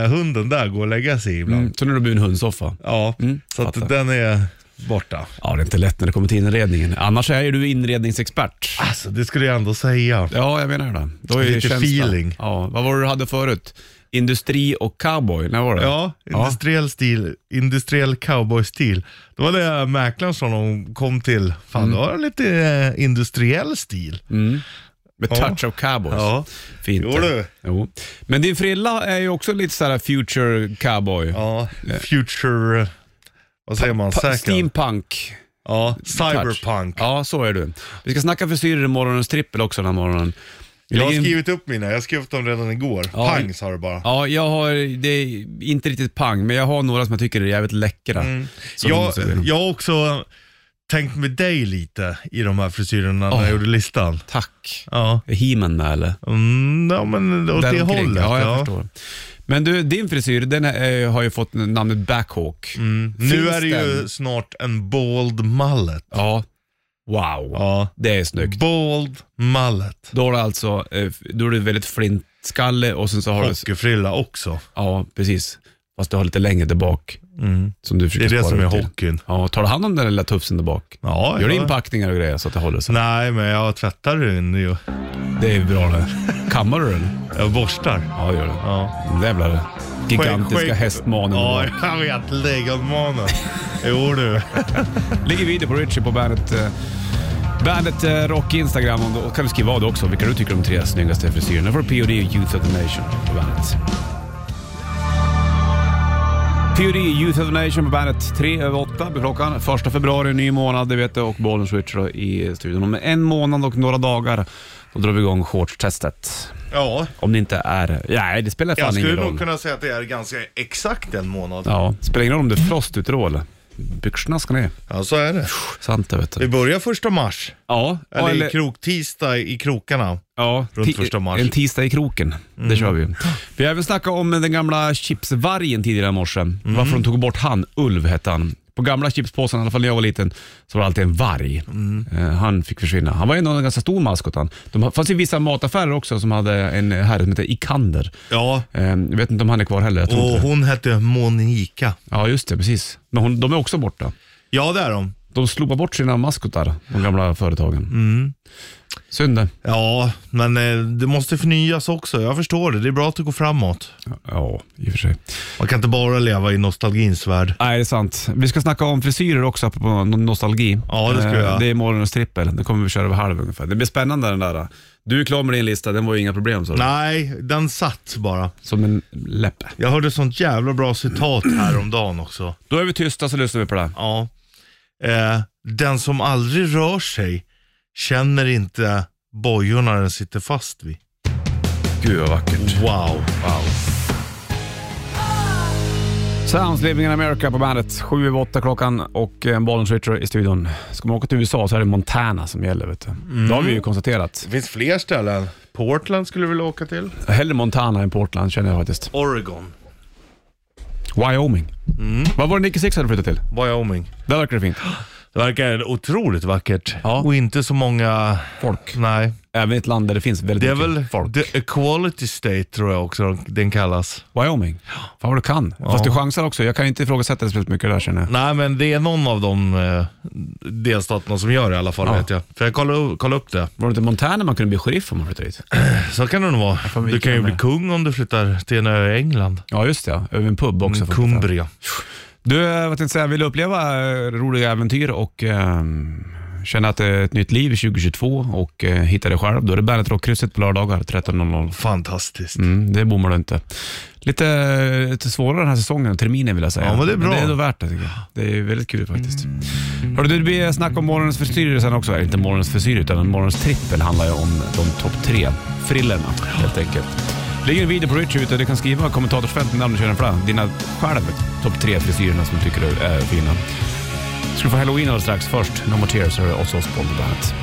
S3: eh, hunden där gå och lägga sig ibland.
S2: Mm, så nu har det blivit en hundsoffa.
S3: Ja,
S2: Mm,
S3: så att
S2: fattar.
S3: den är borta.
S2: Ja, det är inte lätt när det kommer till inredningen. Annars är ju du inredningsexpert.
S3: Alltså det skulle jag ändå säga.
S2: Ja, jag menar det. Då är ju
S3: Lite
S2: känslan.
S3: feeling.
S2: Ja, vad var det du hade förut? Industri och cowboy, när var det?
S3: Ja, industriell stil, industriell cowboy-stil. Det var det mäklaren som de kom till. Fan,
S2: Mm.
S3: du har lite eh, industriell stil.
S2: Med
S3: Ja.
S2: touch of cowboys.
S3: Ja.
S2: Fint.
S3: Jo, du.
S2: Jo. Men din frilla är ju också lite så här future cowboy.
S3: Ja, future, eh, vad säger man,
S2: Pa-
S3: säkert.
S2: Steampunk.
S3: Ja,
S2: touch.
S3: cyberpunk.
S2: Ja, så är du. Vi ska snacka frisyrer i morgonens trippel också den här morgonen.
S3: Jag har
S2: Lägger in-
S3: skrivit upp mina, jag skrev upp dem redan igår.
S2: Ja.
S3: Pang sa det bara.
S2: Ja, jag har, det är inte riktigt pang, men jag har några som jag tycker är jävligt läckra. Så de
S3: Mm. Jag,
S2: måste gå igenom.
S3: jag har också tänkt med dig lite i de här frisyrerna när
S2: Ja.
S3: jag gjorde listan.
S2: Tack.
S3: Ja,
S2: Är He-Man med eller?
S3: mm, ja men åt det
S2: Däromkring.
S3: hållet.
S2: Ja, jag förstår. Men du, din frisyr, den är, har ju fått namnet backhawk. Finns
S3: Mm. Nu är det ju
S2: den?
S3: snart en bald mallet.
S2: Ja. Wow.
S3: Ja.
S2: Det är snyggt.
S3: Bald mallet.
S2: Då har du alltså, eh, då är du väldigt flintskalle och sen så har du,
S3: Hockeyfrilla också.
S2: ja precis. Fast du har lite längre där bak. Som du
S3: Mm. Det
S2: försöker
S3: är det
S2: spara
S3: som är
S2: ut till.
S3: hockeyn.
S2: Ja, tar du hand om den lilla tufsen där bak?
S3: Ja,
S2: Gör du
S3: ja.
S2: inpackningar och grejer så att det håller sig?
S3: Nej, men jag tvättar den ju.
S2: Det är bra det. Kammar du den?
S3: Jag borstar.
S2: Ja, det gör det.
S3: Ja.
S2: Den Jävlar. Gigantiska
S3: Skägg- skägg-
S2: hästmanen.
S3: Ja, jag vet. Lejonmanen. Jo du.
S2: Ligger video på Richie på bandet. eh, Bandet eh, Rock Instagram och då kan du skriva vad också, vilka du tycker är de tre snyggaste frisyrerna. För POD och Youth of the Nation på bandet. POD Youth of the Nation på bandet. Tre över åtta blir klockan. Första februari, ny månad, det vet du, och Bollen Switch då i studion. Om en månad och några dagar, då drar vi igång shortstestet.
S3: Ja,
S2: Om det inte är... Nej, det spelar
S3: jag
S2: fan ingen
S3: skulle
S2: roll.
S3: nog kunna säga att det är ganska exakt en månad.
S2: Ja, spelar ingen roll om det är frost ute då eller? Byxorna ska ner.
S3: Ja, så är det.
S2: Sant det vet
S3: Vi
S2: du.
S3: börjar första mars.
S2: Ja,
S3: Eller,
S2: eller-
S3: i kroktisdag i krokarna.
S2: Ja,
S3: Runt
S2: ti-
S3: första mars. Mm.
S2: En tisdag i kroken. Det kör vi ju. Vi har även snackat om den gamla chipsvargen tidigare i morse.
S3: Mm.
S2: Varför de tog bort han. Ulv hette han. På gamla chipspåsen, i alla fall när jag var liten, så var det alltid en varg.
S3: Mm.
S2: Eh, han fick försvinna. Han var ändå en ganska stor maskot han. De, det fanns ju vissa mataffärer också som hade en herre som hette Ikander.
S3: Ja,
S2: Eh, jag vet inte om han är kvar heller. Jag tror
S3: och
S2: inte det.
S3: hon hette Monika.
S2: Ja, just det. Precis. Men hon, de är också borta.
S3: Ja, det är hon.
S2: De slopar bort sina maskotar, de gamla företagen.
S3: Mm.
S2: Synd det.
S3: Ja, men eh, det måste förnyas också. Jag förstår det. Det är bra att det går framåt.
S2: Ja, i och för sig.
S3: Man kan inte bara leva i nostalgins värld.
S2: Nej, det är sant. Vi ska snacka om frisyrer också, på nostalgi.
S3: Ja, det ska vi
S2: Eh,
S3: göra.
S2: Det är morgonens trippel. Den kommer vi köra över halv ungefär. Det blir spännande den där. Du är klar med din lista, den var ju inga problem sa du.
S3: Nej, den satt bara.
S2: Som en läppe.
S3: Jag hörde sånt jävla bra citat häromdagen också.
S2: Då är vi tysta så lyssnar vi på det här.
S3: Ja. Eh, den som aldrig rör sig känner inte bojorna den sitter fast vid.
S2: Gud vad vackert.
S3: Wow, wow.
S2: Sounds Living in America på bandet. Sju över åtta klockan och en Bollens Ritcher i studion. Ska man åka till USA så är det Montana som gäller vet du.
S3: Mm.
S2: Det har vi ju konstaterat.
S3: Det finns fler ställen. Portland skulle vi vilja åka till.
S2: Hellre Montana än Portland känner jag faktiskt.
S3: Oregon.
S2: Wyoming.
S3: Mm.
S2: Vad var det Nicky Six hade flyttat till?
S3: Wyoming.
S2: Där verkar det fint.
S3: Det verkar otroligt vackert.
S2: Ja.
S3: Och inte så många...
S2: Folk.
S3: Nej.
S2: Även i ett land där det finns väldigt
S3: Det är
S2: mycket
S3: väl
S2: folk.
S3: The Equality State tror jag också den kallas.
S2: Wyoming. Fan vad du kan. Fast du chansar också. Jag kan inte ifrågasätta det speciellt mycket där känner jag.
S3: Nej men det är någon av de eh, delstaterna som gör det i alla fall
S2: Ja.
S3: vet jag. För jag kollade, kollade upp det.
S2: Var det inte Montana man kunde bli sheriff om man flyttade dit?
S3: Så kan det nog vara.
S2: vi
S3: Du kan ju
S2: kan
S3: bli
S2: det.
S3: kung om du flyttar till en ö i England. Mm,
S2: Ja just det, ja. över en pub också. får man flytta.
S3: Cumbria.
S2: Du, eh, vad tänkte säga, vill du uppleva eh, roliga äventyr och eh, känna att det är ett nytt liv 2022 och eh, hitta dig själv, då är det Bandet Rockkrysset på lördagar 13.00.
S3: Fantastiskt.
S2: Mm, det bommar du inte. Lite, eh, lite svårare den här säsongen, terminen vill jag säga.
S3: Ja, men det är bra.
S2: det är då värt det tycker jag. Det är väldigt kul faktiskt. Hörru du, det blir snack om morgonens förstyrer sen också. Eller Inte morgonens förstyrer, utan morgonens trippel handlar ju om de topp tre frillerna helt enkelt. Ligger en video på Rich ute, du kan skriva i kommentatorsfältet namn du känner för det. Dina själv topp tre frisyrerna som du tycker är fina. Ska du få halloween alldeles strax. Först No More Tears hör du oss oss på bandet.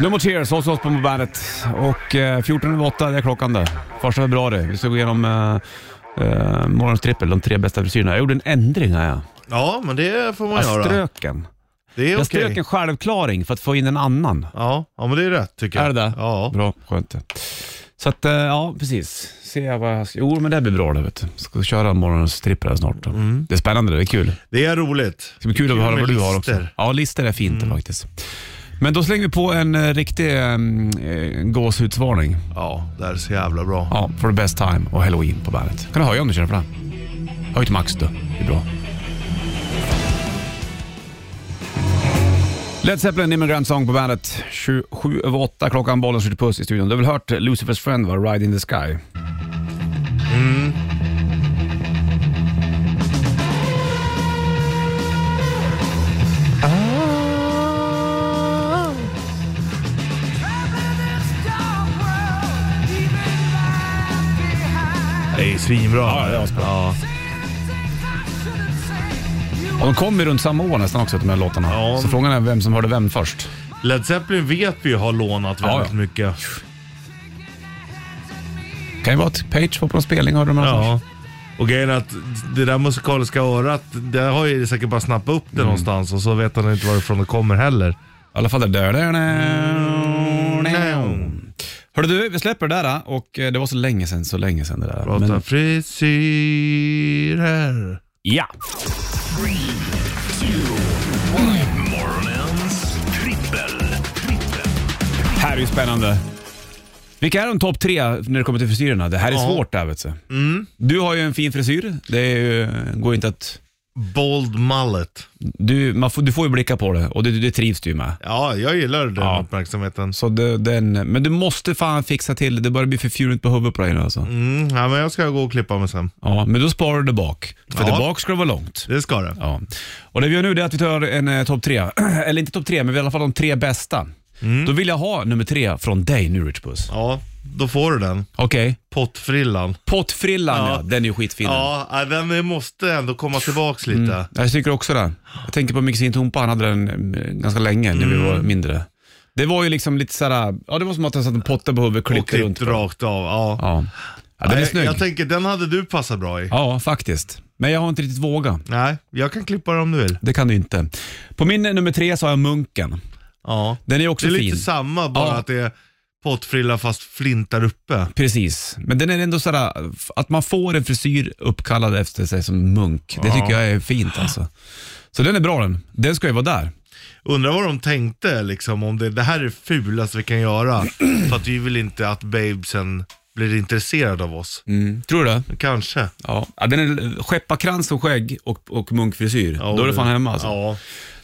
S2: No More Tears, hos oss på bandet. Och eh, 14 över 8, det är klockan där. Första februari. Vi ska gå igenom eh, eh, morgonens trippel, de tre bästa frisyrerna. Jag gjorde en ändring här. Ja.
S3: Ja, men det får man
S2: Jag
S3: göra.
S2: strök en.
S3: Det är
S2: Jag
S3: okej.
S2: strök en självklaring för att få in en annan.
S3: Ja, ja, men det är rätt tycker jag.
S2: Är det det?
S3: Ja.
S2: Bra, skönt det. Så att, eh, ja precis. Se vad jag ska... Jo, men det här blir bra det vet du. Ska köra morgonens trippel här snart. då. Det är spännande, det är kul.
S3: Det är roligt.
S2: Det ska bli kul att höra
S3: Mm. med
S2: vad du har
S3: lister. Mm.
S2: också. Ja, lister är fint faktiskt. Men då slänger vi på en eh, riktig eh, gåshudsvarning.
S3: Ja, det här är så jävla bra.
S2: Ja, for the best time och halloween på bandet. Kan du höja om du känner för det? Höj till max du. Det är bra. Led Zeppelin, Immigrant Song på bandet. 27 över 8 klockan, bollen skjuter puss i studion. Du har väl hört Lucifers Friend va? Ride in the Sky? Mm.
S3: Det är svinbra. Ja, det var ja.
S2: Och de kom ju runt samma år nästan också, de här låtarna.
S3: Ja.
S2: Så frågan är vem som hörde vem först.
S3: Led Zeppelin vet vi ju har lånat
S2: Ja,
S3: väldigt
S2: ja.
S3: mycket.
S2: Kan ju vara att Page var på en spelning hörde de här först.
S3: Ja. Och grejen är att det där musikaliska örat, det har ju säkert bara snappat upp det
S2: Mm.
S3: någonstans och så vet han inte varifrån det kommer heller.
S2: I alla fall det där. där, där. Hörru du, vi släpper det där och eh, det var så länge sedan, så länge sedan det där.
S3: Prata
S2: Men-
S3: frisyrer.
S2: ja.
S4: Morgonens trippel.
S2: Här är ju spännande. Vilka är de topp tre när det kommer till frisyrerna? Det här är svårt det här vet du.
S3: Mm.
S2: Du har ju en fin frisyr. Det är ju, går inte att...
S3: Bold mullet.
S2: Du, man får, du får ju blicka på det och det, det trivs du ju med.
S3: Ja, jag gillar den
S2: Ja.
S3: uppmärksamheten.
S2: Så det, den, men du måste fan fixa till det. Det börjar bli för fjunigt på huvudet på dig nu alltså.
S3: Mm, ja, men jag ska gå och klippa mig sen.
S2: Ja, men då sparar du det bak. För
S3: Ja.
S2: det bak ska det vara långt.
S3: Det ska det.
S2: Ja. Och det vi gör nu är att vi tar en eh, topp tre. Eller inte topp tre, men i alla fall de tre bästa.
S3: Mm.
S2: Då vill jag ha nummer tre från dig nu Rich Puss.
S3: Ja, då får du den.
S2: Okej.
S3: Pottfrillan.
S2: Pottfrillan ja.
S3: Ja.
S2: den är ju skitfin.
S3: Ja, ja, den måste ändå komma tillbaks lite.
S2: Jag tycker också det. Jag tänker på min kusin Tompa, han hade den eh, ganska länge när vi
S3: Mm.
S2: var mindre. Det var ju liksom lite såhär, ja det var som att han satte en potta på huvudet och
S3: Och
S2: klippte runt.
S3: klippt rakt av. Ja.
S2: Ja. ja, den är
S3: Nej,
S2: snygg.
S3: Jag tänker, den hade du passat bra i.
S2: Ja, faktiskt. Men jag har inte riktigt vågat.
S3: Nej, jag kan klippa den om du vill.
S2: Det kan du inte. På min eh, nummer tre så har jag munken.
S3: Ja.
S2: Den är
S3: Det
S2: också
S3: är
S2: fin.
S3: lite samma, bara
S2: Ja.
S3: att det är pottfrilla fast flintar uppe.
S2: Precis, men den är ändå sådär, att man får en frisyr uppkallad efter sig som munk, det tycker jag är fint alltså. Så den är bra den. Den ska ju vara där.
S3: Undrar vad de tänkte liksom, om det, det här är det fulaste vi kan göra. för att vi vill inte att babesen blir intresserad av oss.
S2: Mm. Tror du det?
S3: Kanske.
S2: Ja. ja den är skepparkrans och skägg och, och munkfrisyr.
S3: Ja,
S2: Då är det fan hemma alltså.
S3: Ja.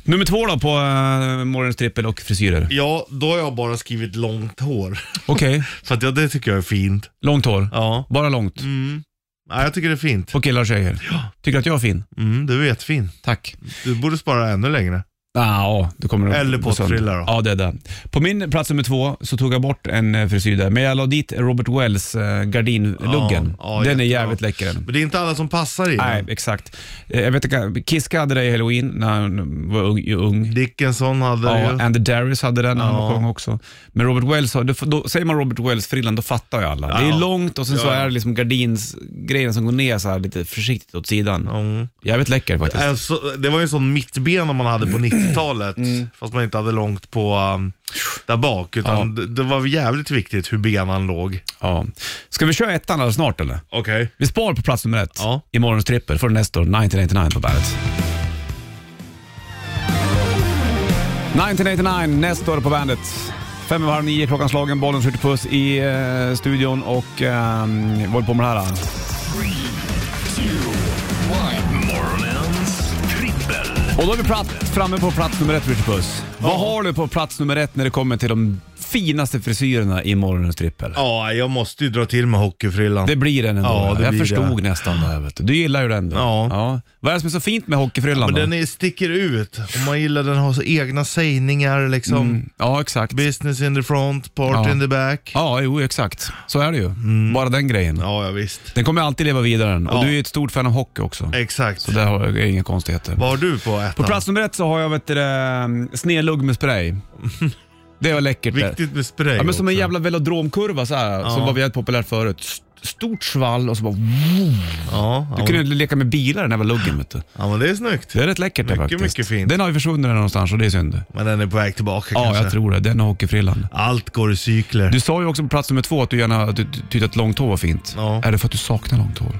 S2: Nummer två då på uh, morgonens trippel och frisyrer.
S3: Ja, då har jag bara skrivit långt hår.
S2: Okej,
S3: För att ja, det tycker jag är fint.
S2: långt hår.
S3: Ja.
S2: Bara långt.
S3: Mm. ja, jag tycker det är fint.
S2: På killar och tjejer. Tycker du att jag är fin?
S3: Mm, du är jättefin.
S2: Tack.
S3: Du borde spara ännu längre.
S2: Ah, ja, du kommer att-
S3: Eller
S2: gå sönder.
S3: pottfrilla då.
S2: Ja, det är det. På min plats nummer två så tog jag bort en eh, frisyr där, men jag la dit Robert Wells eh, gardinluggen.
S3: Ja,
S2: den
S3: ja,
S2: är
S3: jättebra.
S2: jävligt läcker den.
S3: Men det är inte alla som passar i
S2: Nej,
S3: den.
S2: exakt. Eh, Jag vet inte, Kiska hade det i Halloween när han var ung. ung.
S3: Dickinson hade det
S2: Ja,
S3: ju.
S2: Andy Darius hade den när han var
S3: Ja.
S2: sjöng också. Men Robert Wells, har- då, då, säger man Robert Wells-frillan då fattar ju alla. Det är långt och sen så
S3: Ja.
S2: är det liksom gardinsgrejen som går ner så här lite försiktigt åt sidan.
S3: Mm.
S2: Jävligt läcker faktiskt.
S3: Alltså, det var ju en sån mittbena man hade på 90-talet,
S2: Mm.
S3: fast man inte hade långt på um, där bak. Utan det, det var jävligt viktigt hur benan låg.
S2: Ja. Ska vi köra ettan alldeles snart eller?
S3: Okej.
S2: Vi spar på plats nummer ett
S3: Ja.
S2: i morgons trippel för nästa år, 1989 på bandet. 1989, nästa år på bandet. Fem över halv nio, klockan slagen, bollen skjuter puss i eh, studion och eh, vi håller på med det här. då.
S4: Morgonens trippel.
S2: Och då är vi platt, framme på plats nummer ett, skjuter puss. Vad har du på plats nummer ett när det kommer till de finaste frisyrerna i morgonens trippel?
S3: Ja, jag måste ju dra till med hockeyfrillan.
S2: Det blir den ändå.
S3: Ja, det
S2: jag
S3: blir
S2: förstod
S3: det.
S2: nästan det. här, Vet du. du gillar ju den. Då.
S3: Ja.
S2: Vad är det som är så fint med hockeyfrillan
S3: Men
S2: då?
S3: den är, sticker ut. Och man gillar den har så egna sägningar liksom.
S2: Ja, exakt.
S3: Business in the front, party
S2: Mm. Ja.
S3: in the back. Ja,
S2: Ja, jo exakt. Så är det ju. Bara den grejen.
S3: Mm. ja visst.
S2: Den kommer alltid leva vidare. den. Och
S3: Ja.
S2: du är ju ett stort fan av hockey också.
S3: Exakt.
S2: Så där har jag inga konstigheter.
S3: Vad har du på ettan?
S2: På plats nummer ett så har jag vet du, det, snedlugg med spray. Det var läckert. det.
S3: Viktigt med spray
S2: Ja, men som en
S3: också.
S2: jävla velodromkurva så här, som var väldigt populärt förut. S- Stort svall och så bara...
S3: Ja,
S2: Du
S3: ja,
S2: kunde leka med bilar den här jävla luggen vet du.
S3: ja, men det är snyggt.
S2: Det är rätt läckert det
S3: Mycket,
S2: faktiskt.
S3: mycket fint.
S2: Den har ju försvunnit där någonstans och det är synd.
S3: Men den är på väg tillbaka
S2: Ja,
S3: kanske.
S2: jag tror det. Den och hockeyfrillan.
S3: Allt går i cykler.
S2: Du sa ju också på plats nummer två att du gärna att du ty- tyckte att långt hår var fint.
S3: Ja.
S2: Är det för att du saknar långt hår?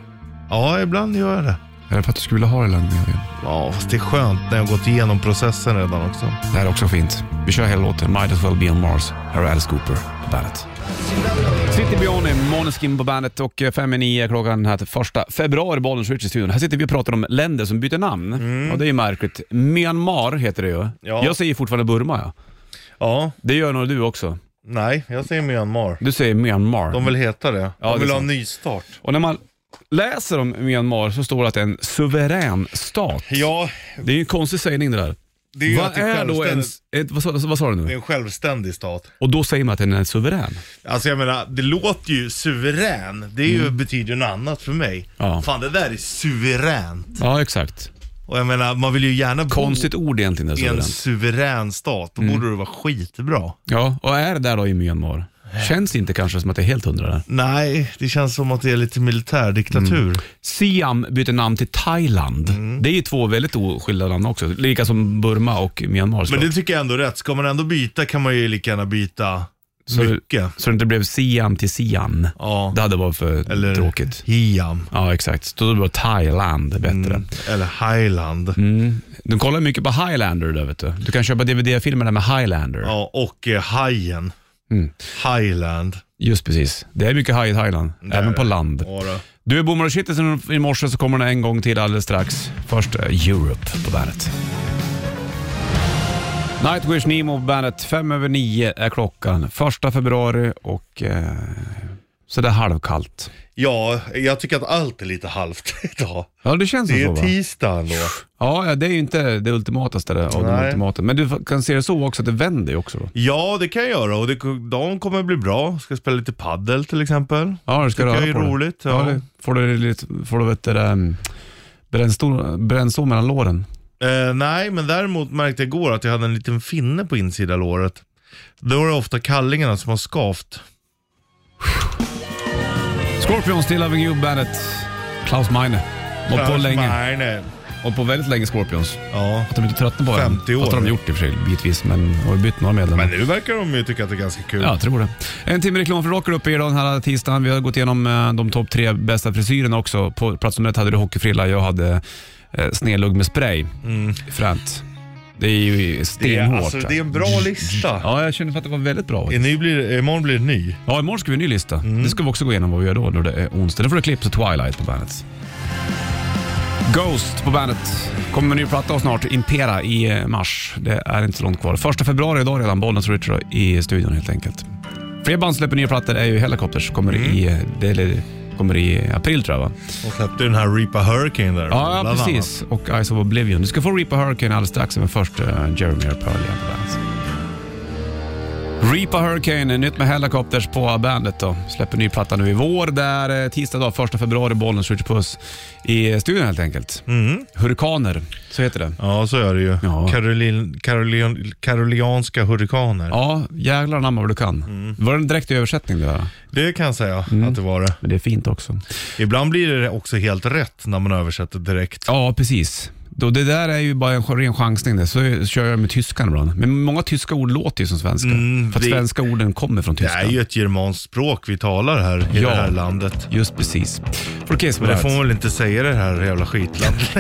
S3: Ja, ibland gör jag det.
S2: Är det för att du skulle vilja ha det längre igen?
S3: Ja, fast det är skönt när jag har gått igenom processen redan också.
S2: Det här är också fint. Vi kör hela låten. Might as well be on Mars. Här är Alice Cooper på bandet. City Bione, Måneskin på bandet och eh, fem i nio klockan här till första februari, bollen switch i studion. Här sitter vi och pratar om länder som byter namn. Och det är ju märkligt. Myanmar heter det ju.
S3: Mm. Ja.
S2: Jag säger fortfarande Burma ja.
S3: Ja,
S2: Det gör nog du också.
S3: nej, jag säger Myanmar.
S2: Du säger Myanmar.
S3: De vill heta det.
S2: Ja, det
S3: De vill
S2: är
S3: ha
S2: sant.
S3: en nystart.
S2: Och när man läser om Myanmar så står det att det är en suverän stat.
S3: Ja,
S2: Det är ju en konstig sägning det där.
S3: det är ju att
S2: Vad
S3: det är,
S2: är då en...
S3: självständigt-
S2: ett- Vad sa, vad sa du
S3: det är
S2: nu?
S3: en självständig stat.
S2: Och då säger man att den är suverän.
S3: Alltså jag menar, det låter ju suverän. Det är ju, betyder ju något annat för mig.
S2: Mm. Ja.
S3: Fan, det där är suveränt.
S2: Ja, exakt.
S3: Och jag menar, man vill ju gärna bo
S2: Konstigt ord egentligen,
S3: i
S2: suverän.
S3: en suverän Mm. stat. Då borde det vara skitbra.
S2: Ja, och är det där då i Myanmar?
S3: Äh.
S2: Känns inte kanske som att det är helt hundra där.
S3: Nej, det känns som att det är lite militärdiktatur.
S2: Siam byter namn till Thailand.
S3: Mm.
S2: Det är ju två väldigt oskilda namn också, lika som Burma och Myanmar.
S3: Men
S2: såklart.
S3: det tycker jag ändå är rätt. Ska man ändå byta kan man ju lika gärna byta
S2: så,
S3: mycket.
S2: så det inte blev Siam till Sian.
S3: Ja.
S2: Det hade varit för
S3: Eller
S2: tråkigt.
S3: Hiam.
S2: Ja, exakt. Då var Thailand bättre.
S3: Mm. Eller Highland.
S2: De kollar mycket på Highlander där vet du. Du kan köpa DVD-filmer där med Highlander.
S3: Ja, och eh, Hajen. Mm. Highland.
S2: Just precis. Det är mycket haj i Thailand, även på land.
S3: Ja, då.
S2: Du är Bommar och Kittelsen i morse så kommer den en gång till alldeles strax. Först eh, Europe på bandet. Nightwish Nemo på bandet. Fem över nio är klockan. Första februari och eh, så det är halvkallt.
S3: ja, jag tycker att allt är lite halvt idag.
S2: Ja, det känns
S3: Det
S2: som
S3: är
S2: så va?
S3: tisdag då.
S2: Ja, ja, det är ju inte det ultimata stället av de
S3: Nej.
S2: ultimata. Men du kan se det så också att det vänder ju också då.
S3: Ja, det kan jag göra och det, dagen kommer bli bra. Ska spela lite paddel till exempel.
S2: Ja, du ska
S3: Tycker
S2: röra
S3: jag är
S2: på dig.
S3: roligt,
S2: Ja.
S3: ja.
S2: det får du lite, får du vet du, um, brännsår mellan låren.
S3: Eh, nej, men däremot märkte jag igår att jag hade en liten finne på insida låret. Då är det ofta kallingarna som har skavt.
S2: Scorpions till Loving You bandet. Klaus Meine. Och på
S3: Klaus
S2: länge.
S3: Meine.
S2: Och på väldigt länge Scorpions.
S3: Ja.
S2: Att de inte tröttnar på
S3: 50 år
S2: Fast det har de
S3: nu.
S2: gjort i och för sig bitvis, men har ju bytt några medlemmar.
S3: Men nu verkar de ju tycka att det är ganska kul.
S2: Ja, jag tror det. En timme reklam för Rocker uppe idag den här tisdagen. Vi har gått igenom eh, de topp tre bästa frisyrerna också. På plats nummer ett hade du hockeyfrilla, jag hade eh, snedlugg med spray. Fränt. Det är ju
S3: Mm. det, är,
S2: stenhårt.
S3: alltså, det är en bra lista.
S2: Ja, jag känner för att det var väldigt bra.
S3: I ny blir, imorgon blir det ny.
S2: Ja, imorgon ska vi ha en ny lista. Det ska vi också gå igenom vad vi gör då när det är onsdag. Då får du klipp så Twilight på bandet. Ghost på bandet. Kommer med en ny platta snart, Impera, i eh, mars. Det är inte så långt kvar. Första februari idag redan, Bollnäs och Richard i studion helt enkelt. Fler band släpper nya plattor är ju Helicopters, kommer i, eh, det, eller, kommer i april tror jag va?
S3: Och släppte den här Reaper Hurricane där.
S2: Ja, ja
S3: bland
S2: precis. Och Eyes of Oblivion. Du ska få Reaper Hurricane alldeles strax, men först eh, Jeremy och Pearl igen på bandet. Reaper Hurricane, nytt med Helicopters på bandet då. Släpper ny platta nu i vår. där eh, tisdag dag, 1 februari, Bollnäs Ritchie Puss i studion helt enkelt. Hurrikaner, så heter det.
S3: Ja, så är det ju.
S2: Ja.
S3: Karolin, Karolin, karolianska hurrikaner.
S2: Ja, jävlar anamma vad du kan. Var det en direkt översättning det där?
S3: Det kan jag säga
S2: Mm.
S3: att det var det.
S2: Men det är fint också.
S3: Ibland blir det också helt rätt när man översätter direkt.
S2: Ja, precis. Då, det där är ju bara en ren chansning. Det. Så kör jag med tyskan ibland. Men många tyska ord låter ju som svenska.
S3: Mm,
S2: för att
S3: det-
S2: svenska orden kommer från
S3: Det
S2: tyskan.
S3: är ju ett germanskt språk vi talar här i
S2: Ja.
S3: det här landet.
S2: Just precis. Får du kiss på
S3: Men det får man
S2: bandet?
S3: väl inte säga i det här jävla skitlandet.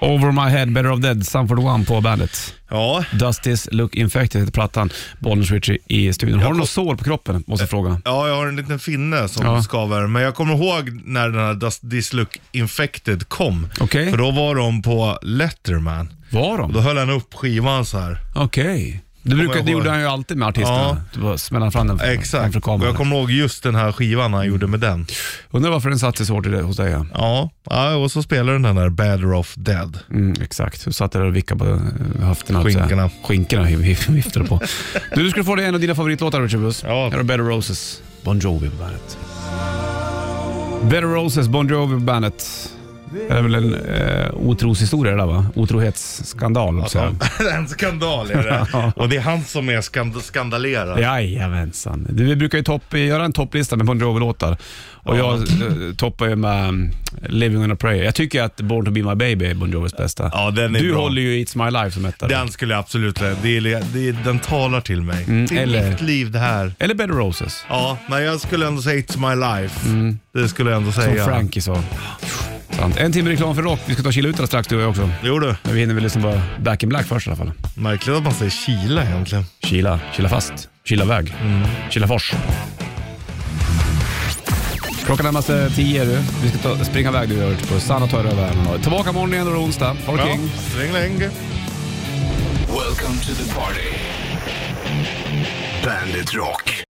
S2: Over my head, better of dead, Sanford One på bandet.
S3: ja,
S2: Does this look infected heter plattan. Bollnäs Ritchie i studion. Har du
S3: kom-
S2: något sår på kroppen? Måste jag fråga.
S3: ja, jag har en liten finne som
S2: Ja.
S3: skaver. Men jag kommer ihåg när den här Does This Look Infected kom.
S2: Okej.
S3: För då var de på Letterman.
S2: Var
S3: Och då
S2: de?
S3: höll han upp skivan så här.
S2: Okej. Det, brukar,
S3: jag
S2: det gjorde
S3: ihåg.
S2: han ju alltid med artisterna.
S3: Ja.
S2: Det var smälla fram den framför
S3: Exakt. Och
S2: kameran. Mm.
S3: jag kommer ihåg just den här skivan han gjorde med den.
S2: Undrar varför den satt sig så hårt i det- hos dig? Ja.
S3: Ja, ja och så spelar den där Better Off Dead.
S2: Mm, exakt. Du satt där och vickade på eh, höfterna.
S3: Skinkorna.
S2: Skinkorna hiv- hiv- viftade på. du, du skulle få dig en av dina favoritlåtar Richard Buss.
S3: Ja.
S2: Här har Better Roses, Bon Jovi på bandet. Better Roses, Bon Jovi på bandet. Det är väl en eh, otroshistoria det där va? Otrohetsskandal. Ja,
S3: Det är en skandal är det. Och det är han som är skand- skandalerad.
S2: Jajamensan. Du, vi brukar ju topp, göra en topplista med Bon Jovi-låtar. Och jag eh, toppar ju med mm, Living on a prayer. Jag tycker att Born to be my baby är Bon Jovis bästa.
S3: Ja, den är
S2: du
S3: bra.
S2: håller ju It's my life som etta.
S3: Den skulle jag absolut det är, det är, Den talar till mig. det är
S2: Mm, eller-
S3: mitt liv det här.
S2: Eller Better Roses,
S3: Ja, men jag skulle ändå säga It's My Life. Det skulle jag ändå
S2: som
S3: säga.
S2: Frankie sa. Sant. En timme reklam för rock. Vi ska ta Chilutra strax du och jag också.
S3: Jo du,
S2: Men vi hinner väl lyssna på Back in Black först i alla fall.
S3: märkligt att man säger Kila egentligen.
S2: Kila, kila fast, kila väg, kila fors. Klockan närmar sig tio du. Vi ska ta, springa iväg du och på Sanna tar över här. Tillbaka imorgon igen och då är det onsdag. Ha det
S3: Ja,
S2: king.
S3: Sträng
S4: Welcome to the party. Bandit Rock.